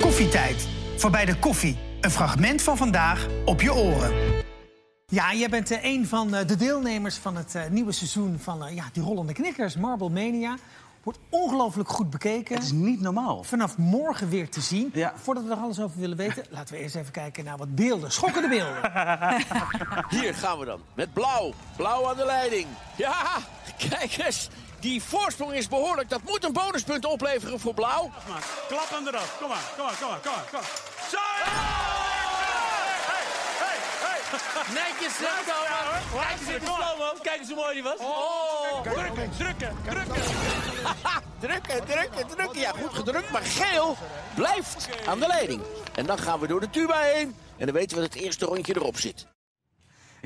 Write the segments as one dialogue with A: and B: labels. A: Koffietijd. Voorbij de koffie. Een fragment van vandaag op je oren. Ja, jij bent eh, een van eh, de deelnemers van het eh, nieuwe seizoen van eh, ja, die rollende knikkers, Marble Mania. Wordt ongelooflijk goed bekeken.
B: Het is niet normaal.
A: Vanaf morgen weer te zien.
B: Ja.
A: Voordat we er alles over willen weten, laten we eerst even kijken naar wat beelden. Schokkende beelden.
C: Hier gaan we dan. Met blauw. Blauw aan de leiding. Ja, kijk eens. Die voorsprong is behoorlijk. Dat moet een bonuspunt opleveren voor blauw.
D: maar. Klap hem eraf. Kom maar, kom maar, kom maar, kom maar. Kom maar. Zo!
C: Ah! Netjes zegt Thomas.
D: Kijk eens in de slow-mo. Kijk eens hoe mooi die was.
C: Oh,
D: Drukken, drukken, drukken.
C: drukken, drukken, drukken. Ja, goed gedrukt, maar geel blijft aan de leiding. En dan gaan we door de tuba heen. En dan weten we dat het eerste rondje erop zit.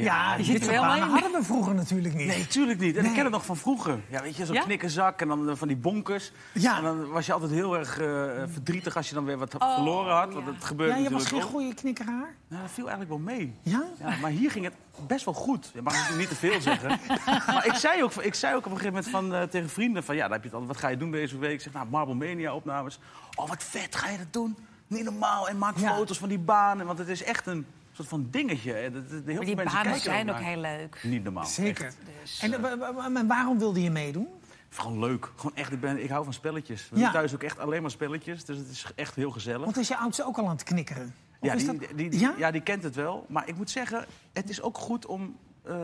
A: Ja, dit soort
E: wel
A: banen
E: in.
A: hadden we vroeger natuurlijk niet.
B: Nee, tuurlijk niet. En ik ken het nog van vroeger. Ja, weet je, zo'n
E: Ja?
B: knikkerzak en dan eh, van die bonkers.
A: Ja.
B: En dan was je altijd heel erg eh, verdrietig als je dan weer wat
E: Oh,
B: verloren had. Want dat gebeurde
A: Ja, je was
B: natuurlijk
A: geen
B: ook.
A: goede knikkerhaar.
B: Nou, dat viel eigenlijk wel mee.
A: Ja?
B: Ja, maar hier ging het best wel goed. Je mag natuurlijk niet te veel zeggen. Maar ik zei, ook, ik zei ook op een gegeven moment van, eh, tegen vrienden: van, ja, dan heb je het al, wat ga je doen deze week? Ik zeg, nou, Marble Mania opnames. Oh, wat vet, ga je dat doen? Niet normaal. En maak
A: Ja.
B: foto's van die banen. Want het is echt een soort van dingetje. hè. Dat- dat- heel
E: Maar
B: veel
E: die
B: mensen
E: banen
B: kijken er
E: zijn ook
B: naar.
E: heel leuk.
B: Niet normaal.
A: Zeker.
B: Echt.
A: en eh, wa- wa- wa- en waarom wilde je meedoen?
B: Gewoon leuk. Gewoon echt, ik, ben, ik hou van spelletjes. We
A: Ja.
B: doen thuis ook echt alleen maar spelletjes. Dus het is echt heel gezellig.
A: Want is je oudste ook al aan het knikkeren? Of
B: Ja
A: is
B: die,
A: dat-
B: die- die-
A: ja?
B: ja? die kent het wel. Maar ik moet zeggen, het is ook goed om eh,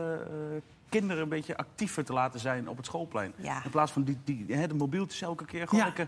B: kinderen een beetje actiever te laten zijn op het schoolplein.
E: Ja.
B: In plaats van die, die, hè, de mobieltjes elke keer gewoon
A: Ja.
B: lekker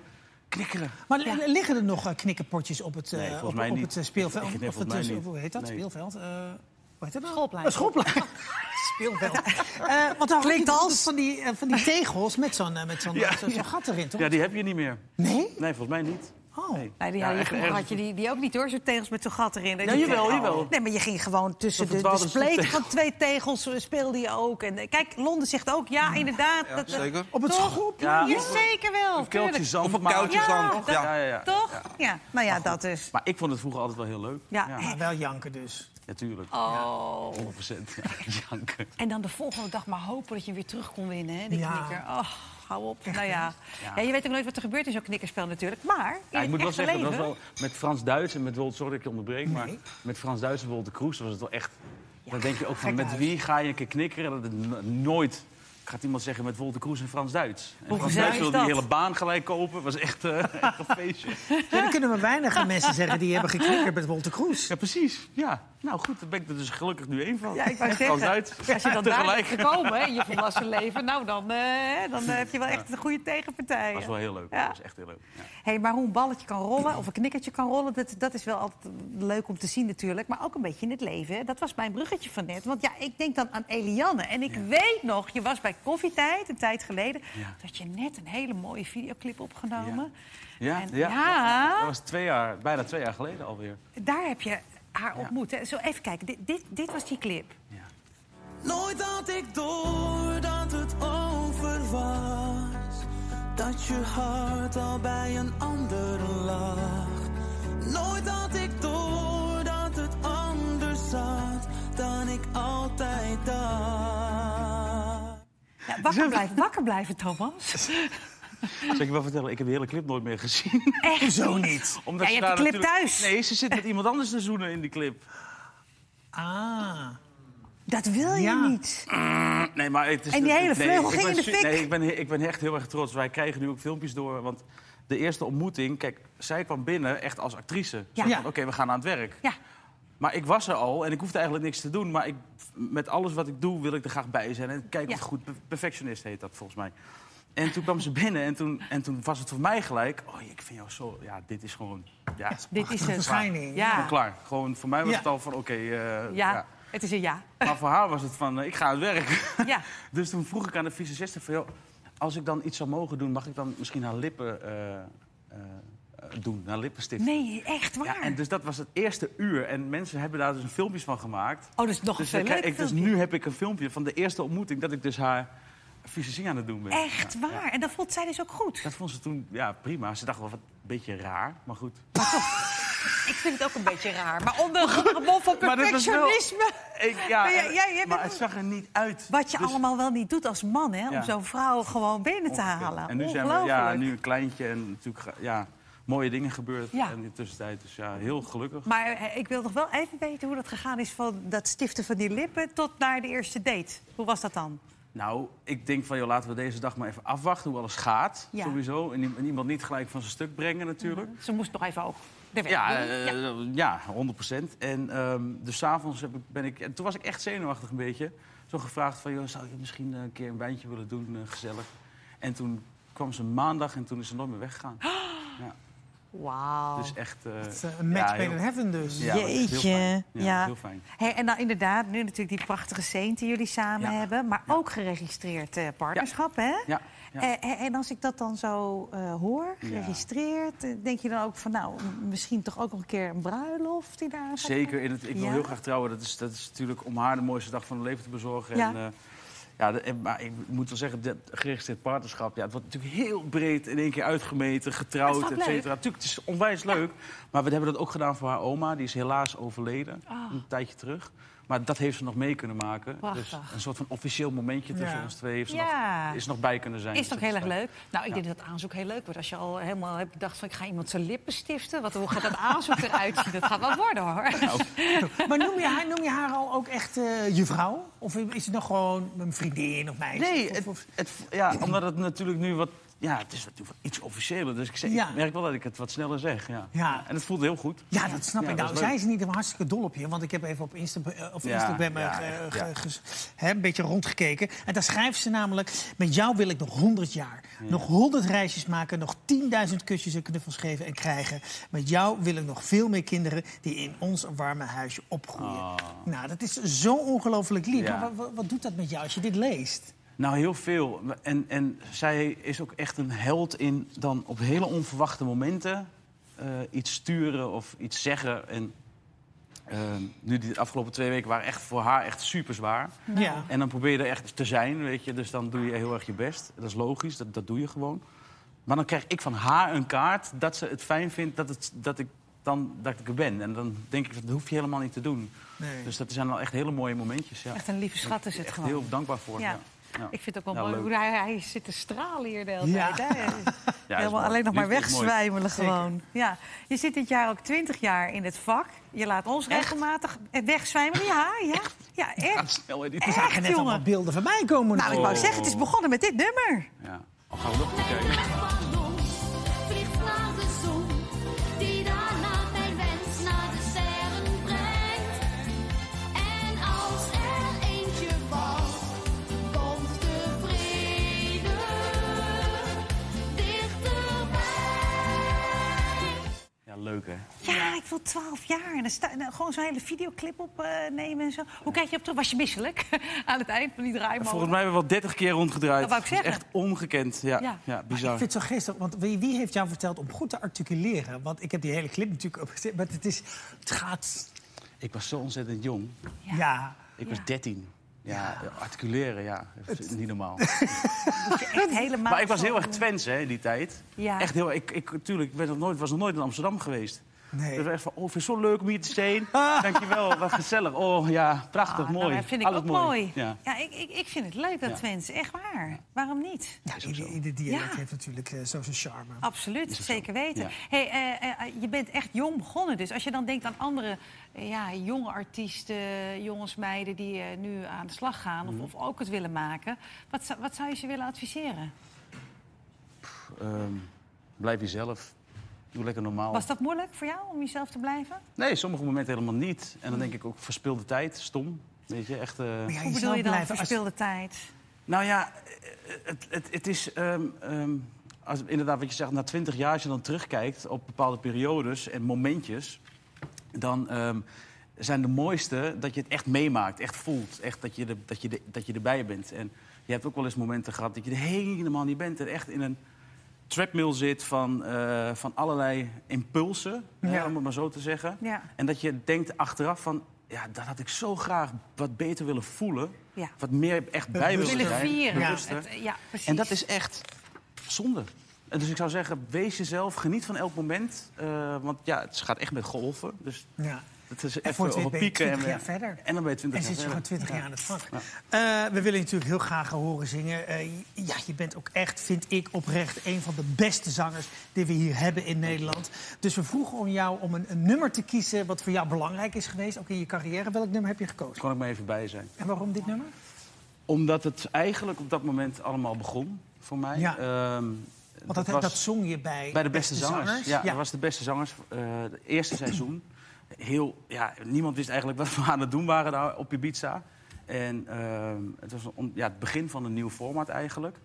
B: knikkeren.
A: Maar li- liggen er nog eh, knikkerpotjes op het, eh,
B: Nee, volgens
A: op,
B: mij
A: op
B: niet.
A: het eh, speelveld?
B: Ik denk
A: of het,
B: volgens mij
A: eh,
B: niet.
A: hoe heet dat?
B: Nee.
A: Speelveld? eh hoe heet dat nou?
E: Schoolplein.
A: Een schoolplein. Speelveld. Eh want dan
E: Klinkt als.
A: van die, eh, van die tegels met zo'n eh, met zo'n
B: Ja.
A: zo'n- zo'n gat erin, toch?
B: Ja, die heb je niet meer.
A: Nee?
B: Nee, volgens mij niet.
A: Oh.
B: Nee.
E: Nee, Nou, die
B: Ja,
E: had je,
B: echt
E: vroeger
B: erg-
E: had je die, die ook niet hoor, zo'n tegels met zo'n gat erin. Oh.
B: Ja, jawel, jawel.
E: Nee, maar je ging gewoon tussen
B: Zo'n
E: de, de
B: verdwaalde
E: spleet
B: stoeptegel.
E: van twee tegels eh, speelde je ook. En, eh, kijk, Londen zegt ook, ja, inderdaad. dat, zeker.
A: Op het schoolplein?
B: Ja,
E: Ja,
B: of-
E: zeker wel.
B: Of kuiltje
E: tuurlijk.
B: zand. Of een
F: kuiltje
E: Ja,
F: zand.
E: dat-
F: Ja.
B: Ja, ja, ja.
E: Toch? Ja. nou ja, dat is.
B: Maar ik vond het vroeger altijd wel heel leuk.
E: Ja.
A: Maar wel janken dus.
B: natuurlijk.
E: Oh.
B: 100%. Ja, janken.
E: En dan de volgende dag maar hopen dat je weer terug kon winnen, hè, die
A: Ja.
E: knikker. Oh, hou op. nou ja. Ja. je weet ook nooit wat er gebeurt in zo'n knikkerspel natuurlijk. Maar in
B: Ja, ik
E: het
B: moet wel
E: echte
B: zeggen, dat was
E: leven...
B: wel met Frans Duits en met Wolt, sorry dat ik je onderbreek, maar met Frans Duits en Wolt de Kroes was het wel echt. dan denk je ook van met
A: huis.
B: wie ga je een keer knikkeren? Dat het no- nooit gaat iemand zeggen met Wolt de Kroes en Frans Duits. En Frans
E: gezellig
B: Duits
E: is
B: wilde die
E: dat?
B: hele baan gelijk kopen, was echt, eh, echt een feestje.
A: Ja, dan kunnen we weinig mensen zeggen die hebben geknikkerd met Wolter Kroes.
B: Ja, precies. Ja, nou goed, daar ben ik er dus gelukkig nu één van.
E: Ja, ik wou
B: En
E: zeggen,
B: Frans Duits.
E: Als je dan daar bent
B: tegelijk.
E: gekomen hè, in je volwassen leven, nou dan, eh, dan eh, heb je wel echt een goede tegenpartij.
B: Dat was wel heel leuk.
E: Ja.
B: Dat was echt heel leuk. Ja.
E: Hey, maar hoe een balletje kan rollen of een knikkertje kan rollen, dat, dat is wel altijd leuk om te zien natuurlijk. Maar ook een beetje in het leven. hè. Dat was mijn bruggetje van net. Want ja, ik denk dan aan Elianne. En ik weet nog, je was bij Koffietijd een tijd geleden.
B: Ja.
E: Dat je net een hele mooie videoclip opgenomen.
B: Ja,
E: En-
B: ja.
E: ja.
B: Dat was twee jaar, bijna twee jaar geleden alweer.
E: Daar heb je haar ontmoet. Hè. Zo even kijken, dit, dit, dit was die clip.
B: Ja.
G: Nooit had ik door dat het over was. Dat je hart al bij een ander lag. Nooit had ik door dat het anders zat dan ik altijd dacht.
E: Ja, wakker blijven, wakker blijven Thomas.
B: Zal ik je wel vertellen, ik heb de hele clip nooit meer gezien.
E: Echt
A: Zo niet.
B: Omdat
E: Ja, je
B: ze
E: hebt
B: daar
E: de clip thuis.
B: Nee, ze zit met iemand anders te zoenen in die clip.
A: Ah.
E: Dat wil je
A: Ja.
E: niet.
B: Nee, maar het is
E: En die hele vleugel
B: ik
E: ging
B: ben
E: in de
B: su-
E: fik.
B: Nee, ik ben, ik ben echt heel erg trots. Wij krijgen nu ook filmpjes door. Want de eerste ontmoeting, kijk, zij kwam binnen echt als actrice. Zo van,
E: Ja.
B: Oké, we gaan aan het werk.
E: Ja.
B: Maar ik was er al en ik hoefde eigenlijk niks te doen. Maar ik, met alles wat ik doe, wil ik er graag bij zijn. En kijk,
E: Ja.
B: of het goed. per- Perfectionist heet dat volgens mij. En toen kwam ze binnen en toen, en toen was het voor mij gelijk... Oh, ik vind jou zo... Ja, dit is gewoon... Ja,
E: Dit is
A: Een
E: het.
A: verschijning.
B: gewoon
E: Ja.
B: klaar. Gewoon, voor mij was
A: Ja.
B: het al van, oké... eh,
E: Ah. ja, het is een ja.
B: Maar voor haar was het van, eh, ik ga aan het werk.
E: Ja.
B: dus toen vroeg ik aan de visagiste van, joh, als ik dan iets zou mogen doen... mag ik dan misschien haar lippen eh, eh, eh, doen, haar lippenstift?
E: Nee, echt waar.
B: Ja, en dus dat was het eerste uur. En mensen hebben daar dus een filmpjes van gemaakt.
E: Oh, dat is nog
B: Dus,
E: veel
B: dan krijg
E: leuker
B: ik, dus
E: filmpje.
B: nu heb ik een filmpje van de eerste ontmoeting... dat ik dus haar visagie aan het doen ben.
E: Echt waar. En dat vond zij dus ook goed.
B: Dat vond ze toen ja, prima. Ze dacht wel wat een beetje raar, maar goed.
E: Ik vind het ook een beetje raar. Maar onder een mond van
B: Maar dat was wel-
E: perfectionisme.
B: Ik, ja,
E: Maar jij- jij- jij
B: maar
E: bent-
B: het zag er niet uit.
E: Wat je
B: Dus-
E: allemaal wel niet doet als man, hè? Om
B: Ja.
E: zo'n vrouw gewoon binnen te halen.
B: En nu zijn we
E: Ongelooflijk.
B: ja, nu een kleintje en natuurlijk... ga- Ja, mooie dingen gebeurd
E: Ja.
B: en in de tussentijd. Dus ja, heel gelukkig.
E: Maar eh, ik wil nog wel even weten hoe dat gegaan is van dat stiften van die lippen tot naar de eerste date. Hoe was dat dan?
B: Nou, ik denk van, joh, laten we deze dag maar even afwachten hoe alles gaat.
E: Ja. Mhm.
B: Sowieso. En, i- en iemand niet gelijk van zijn stuk brengen natuurlijk.
E: Ze moest nog even ook. de werk
B: Ja,
E: doen.
B: eh, ja. 100 En ehm dus s'avonds ben ik... en toen was ik echt zenuwachtig een beetje. Zo gevraagd van, joh, zou je misschien eh, een keer een wijntje willen doen, eh, gezellig? En toen kwam ze maandag en toen is ze nooit meer weggegaan.
E: Oh. Wauw.
B: Dus echt... eh,
A: Het is, eh, Een match
B: ja, heel-
A: made in heaven dus.
B: ja, dat is heel
E: Jeetje,
B: fijn. Ja,
E: ja.
B: heel fijn.
E: Hey, en nou inderdaad, nu natuurlijk die prachtige scène die jullie samen
B: Ja.
E: hebben. Maar ook geregistreerd eh, partnerschap, hè?
B: Ja, ja.
E: Eh, eh, en als ik dat dan zo eh, hoor,
B: Ja.
E: geregistreerd... eh, denk je dan ook van, nou, m- misschien toch ook nog een keer een bruiloft die daar... gaat
B: Zeker. En het, ik wil
E: Ja?
B: heel graag trouwen. Dat is, dat is natuurlijk om haar de mooiste dag van haar leven te bezorgen.
E: Ja.
B: En, eh, ja, de- en- maar ik moet wel zeggen, dat geregistreerd partnerschap... Ja, het wordt natuurlijk heel breed in één keer uitgemeten,
E: Dat is
B: getrouwd,
E: ook
B: et cetera. Natuurlijk, het is onwijs leuk. Maar we hebben dat ook gedaan voor haar oma. Die is helaas overleden,
E: Ah.
B: een tijdje terug. Maar dat heeft ze nog mee kunnen maken. Dus
E: Prachtig.
B: een soort van officieel momentje tussen
A: Ja.
B: ons twee heeft ze
E: Ja.
B: nog, is nog bij kunnen zijn.
E: Is
B: Dus
E: toch
B: dat
E: heel erg
B: fijn.
E: leuk? Nou, ik denk dat het aanzoek heel leuk wordt. Als je al helemaal hebt bedacht van ik ga iemand zijn lippen stiften. Wat, hoe gaat dat aanzoek eruit zien? Dat gaat wel worden hoor.
A: Maar noem je, haar, noem je haar al ook echt eh, je vrouw? Of is het nog gewoon een vriendin of meisje?
B: Nee,
A: Of-
B: het,
A: of-
B: het- ja, omdat het natuurlijk nu wat... Ja, het is natuurlijk iets officiëler. Dus ik, zeg,
A: Ja.
B: ik merk wel dat ik het wat sneller zeg. Ja.
A: Ja.
B: En het voelt heel goed.
A: Ja, dat snap
B: Ja,
A: ik.
B: dat
A: Nou,
B: is leuk.
A: zij is niet helemaal hartstikke dol op je. Want ik heb even op Insta, eh, of
B: Ja,
A: Instagram eh,
B: ja,
A: ge-
B: echt,
A: ge-
B: ja.
A: ge- hè, een beetje rondgekeken. En daar schrijft ze namelijk... Met jou wil ik nog 100 jaar. Nog 100 reisjes maken. Nog 10.000 kusjes en knuffels geven en krijgen. Met jou wil ik nog veel meer kinderen... die in ons warme huisje opgroeien. Nou, dat is zo ongelooflijk lief.
B: Oh. Ja.
A: Maar wa- wa- wat doet dat met jou als je dit leest?
B: Nou, heel veel. En, en zij is ook echt een held in dan op hele onverwachte momenten eh, iets sturen of iets zeggen. En eh, nu die afgelopen twee weken waren echt voor haar echt super zwaar.
A: Ja.
B: Nou. En dan probeer je er echt te zijn, weet je. Dus dan doe je heel erg je best. Dat is logisch, dat, dat doe je gewoon. Maar dan krijg ik van haar een kaart dat ze het fijn vindt dat, het, dat, ik, dan, dat ik er ben. En dan denk ik, dat hoef je helemaal niet te doen.
A: Nee.
B: Dus dat zijn wel echt hele mooie momentjes. Ja.
E: Echt een lieve schat is het
B: Echt
E: gewoon.
B: heel dankbaar voor.
E: Ja.
B: Ja. Ja.
E: Ik vind het ook wel
B: Ja,
E: mooi
B: leuk.
E: hoe hij, hij zit te stralen hier de hele
A: Ja.
E: tijd. hè.
B: Ja, is
E: Helemaal
B: mooi.
E: alleen nog maar
B: Liefde is mooi.
E: wegzwijmelen gewoon. Ja. Je zit dit jaar ook 20 jaar in het vak. Je laat ons regelmatig eh, wegzwijmelen. Ja, ja. Ja,
B: Ja,
E: echt.
B: snel, hè, die-
A: Er zagen net
E: jongen.
A: allemaal beelden van mij komen.
E: Nou, ik wou
B: Oh.
E: zeggen, het is begonnen met dit nummer.
B: Ja. Al gaan we nog een keer kijken.
F: Vliegt naar de zon, die daarna mijn wens naar de sterren brengt. En als er eentje valt, komt de vrede dichterbij.
B: Ja, leuk hè.
E: Ja, ik wil 12 jaar. En dan sta, en dan gewoon zo'n hele videoclip opnemen en zo. Hoe kijk je op terug? Was je misselijk aan het eind van die
B: Volgens
E: draaimolen?
B: mij hebben we wel 30 keer rondgedraaid.
E: Dat wou ik
B: is
E: zeggen.
B: echt ongekend. Ja,
E: Ja.
B: ja.
A: Ik
B: bizar.
A: vind het zo geestig, want wie, wie heeft jou verteld om goed te articuleren? Want ik heb die hele clip natuurlijk opgezet, maar het is... Het gaat...
B: Ik was zo ontzettend jong.
A: Ja.
B: Ik
E: Ja.
B: was 13. Ja, articuleren, ja. Dat is Niet normaal.
E: Echt helemaal
B: Maar ik was
E: zo-
B: heel erg Twents hè, in die tijd.
E: Ja.
B: Echt heel erg. Ik, ik, tuurlijk, ik ben nog nooit, was nog nooit in Amsterdam geweest.
A: Nee.
B: Ik was echt van, oh, vind je het zo leuk om hier te zijn? Dankjewel, wat gezellig. Oh ja, prachtig,
E: Ah, nou,
B: mooi.
E: dat vind ik
B: Alles
E: ook mooi.
B: Ja.
E: Ja, ik, ik, ik vind het leuk dat
B: Ja.
E: Twents, echt waar. Waarom niet?
A: Ja, ieder, ieder dialect
E: Ja.
A: heeft natuurlijk eh, zo zijn charme.
E: Absoluut, zeker weten.
B: Ja.
E: Hey, eh, eh, je bent echt jong begonnen dus. Als je dan denkt aan andere eh, ja, jonge artiesten, jongens, meiden... die eh, nu aan de slag gaan of,
B: Mhm.
E: of ook het willen maken... Wat, zou- wat zou je ze willen adviseren?
B: Ehm, blijf jezelf. Doe lekker normaal.
E: Was dat moeilijk voor jou om jezelf te blijven?
B: Nee, sommige momenten helemaal niet. En dan denk ik ook verspilde tijd, stom. Weet je, echt. eh,
A: Ja,
E: Hoe bedoel
A: zou
E: je dan
A: blijven als-
E: verspilde tijd?
B: Nou ja, het, het, het is. ehm, ehm, als, inderdaad, wat je zegt, na twintig jaar, als je dan terugkijkt op bepaalde periodes en momentjes. dan ehm, zijn de mooiste dat je het echt meemaakt, echt voelt. Echt dat je, er- dat, je er- dat je erbij bent. En je hebt ook wel eens momenten gehad dat je er helemaal niet bent. En echt in een treadmill zit van, eh, van allerlei impulsen, hè, om het maar zo te zeggen.
E: Ja.
B: En dat je denkt achteraf van, ja, dat had ik zo graag wat beter willen voelen.
E: Ja.
B: Wat meer echt bij willen
E: Willen
B: zijn.
E: vieren.
B: bewuster.
E: Het, eh, ja, precies.
B: En dat is echt zonde. En dus ik zou zeggen, wees jezelf, geniet van elk moment. eh, want ja, het gaat echt met golven. Dus
A: Ja.
B: Dat
A: En
B: is
A: voor
B: even
A: het
B: over
A: weet ben je
B: pieken.
A: 20
B: En, eh,
A: jaar verder.
B: en dan ben je
A: En
B: 20 jaar
A: zit je gewoon
B: verder.
A: 20 jaar aan het vak. Eh, we willen je natuurlijk heel graag horen zingen. Eh, ja, je bent ook echt, vind ik oprecht, een van de beste zangers die we hier hebben in Nederland. Dus we vroegen om jou om een, een nummer te kiezen wat voor jou belangrijk is geweest, ook in je carrière. Welk nummer heb je gekozen?
B: Kon ik maar even bij zijn.
A: En waarom dit nummer?
B: Omdat het eigenlijk op dat moment allemaal begon voor mij.
A: Ja.
B: Ehm,
A: Want dat,
B: was-
A: dat zong je bij,
B: Bij de beste, zangers. Ja,
A: Ja,
B: dat was de beste zangers. eh het eerste seizoen. Heel, ja, niemand wist eigenlijk wat we aan het doen waren daar op Ibiza. En ehm, het was om, ja, het begin van een nieuw format eigenlijk.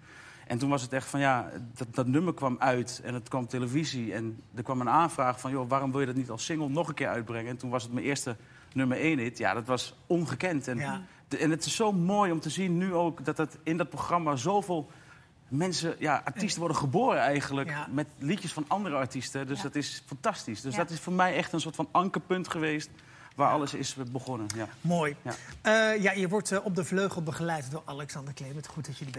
B: En toen was het echt van ja, dat, dat nummer kwam uit en het kwam op televisie. En er kwam een aanvraag van joh, waarom wil je dat niet als single nog een keer uitbrengen? En toen was het mijn eerste nummer één hit. Ja, dat was ongekend. En,
A: Ja.
B: de- en het is zo mooi om te zien nu ook dat het in dat programma zoveel mensen, ja, artiesten worden geboren eigenlijk
A: Ja.
B: met liedjes van andere artiesten. Dus dat is fantastisch. Dus
E: Ja.
B: dat is voor mij echt een soort van ankerpunt geweest waar alles is begonnen. Ja.
A: mooi.
B: Ja.
A: Eh, ja, je wordt eh, op de vleugel begeleid door Alexander Kleem. Het goed dat je er bent.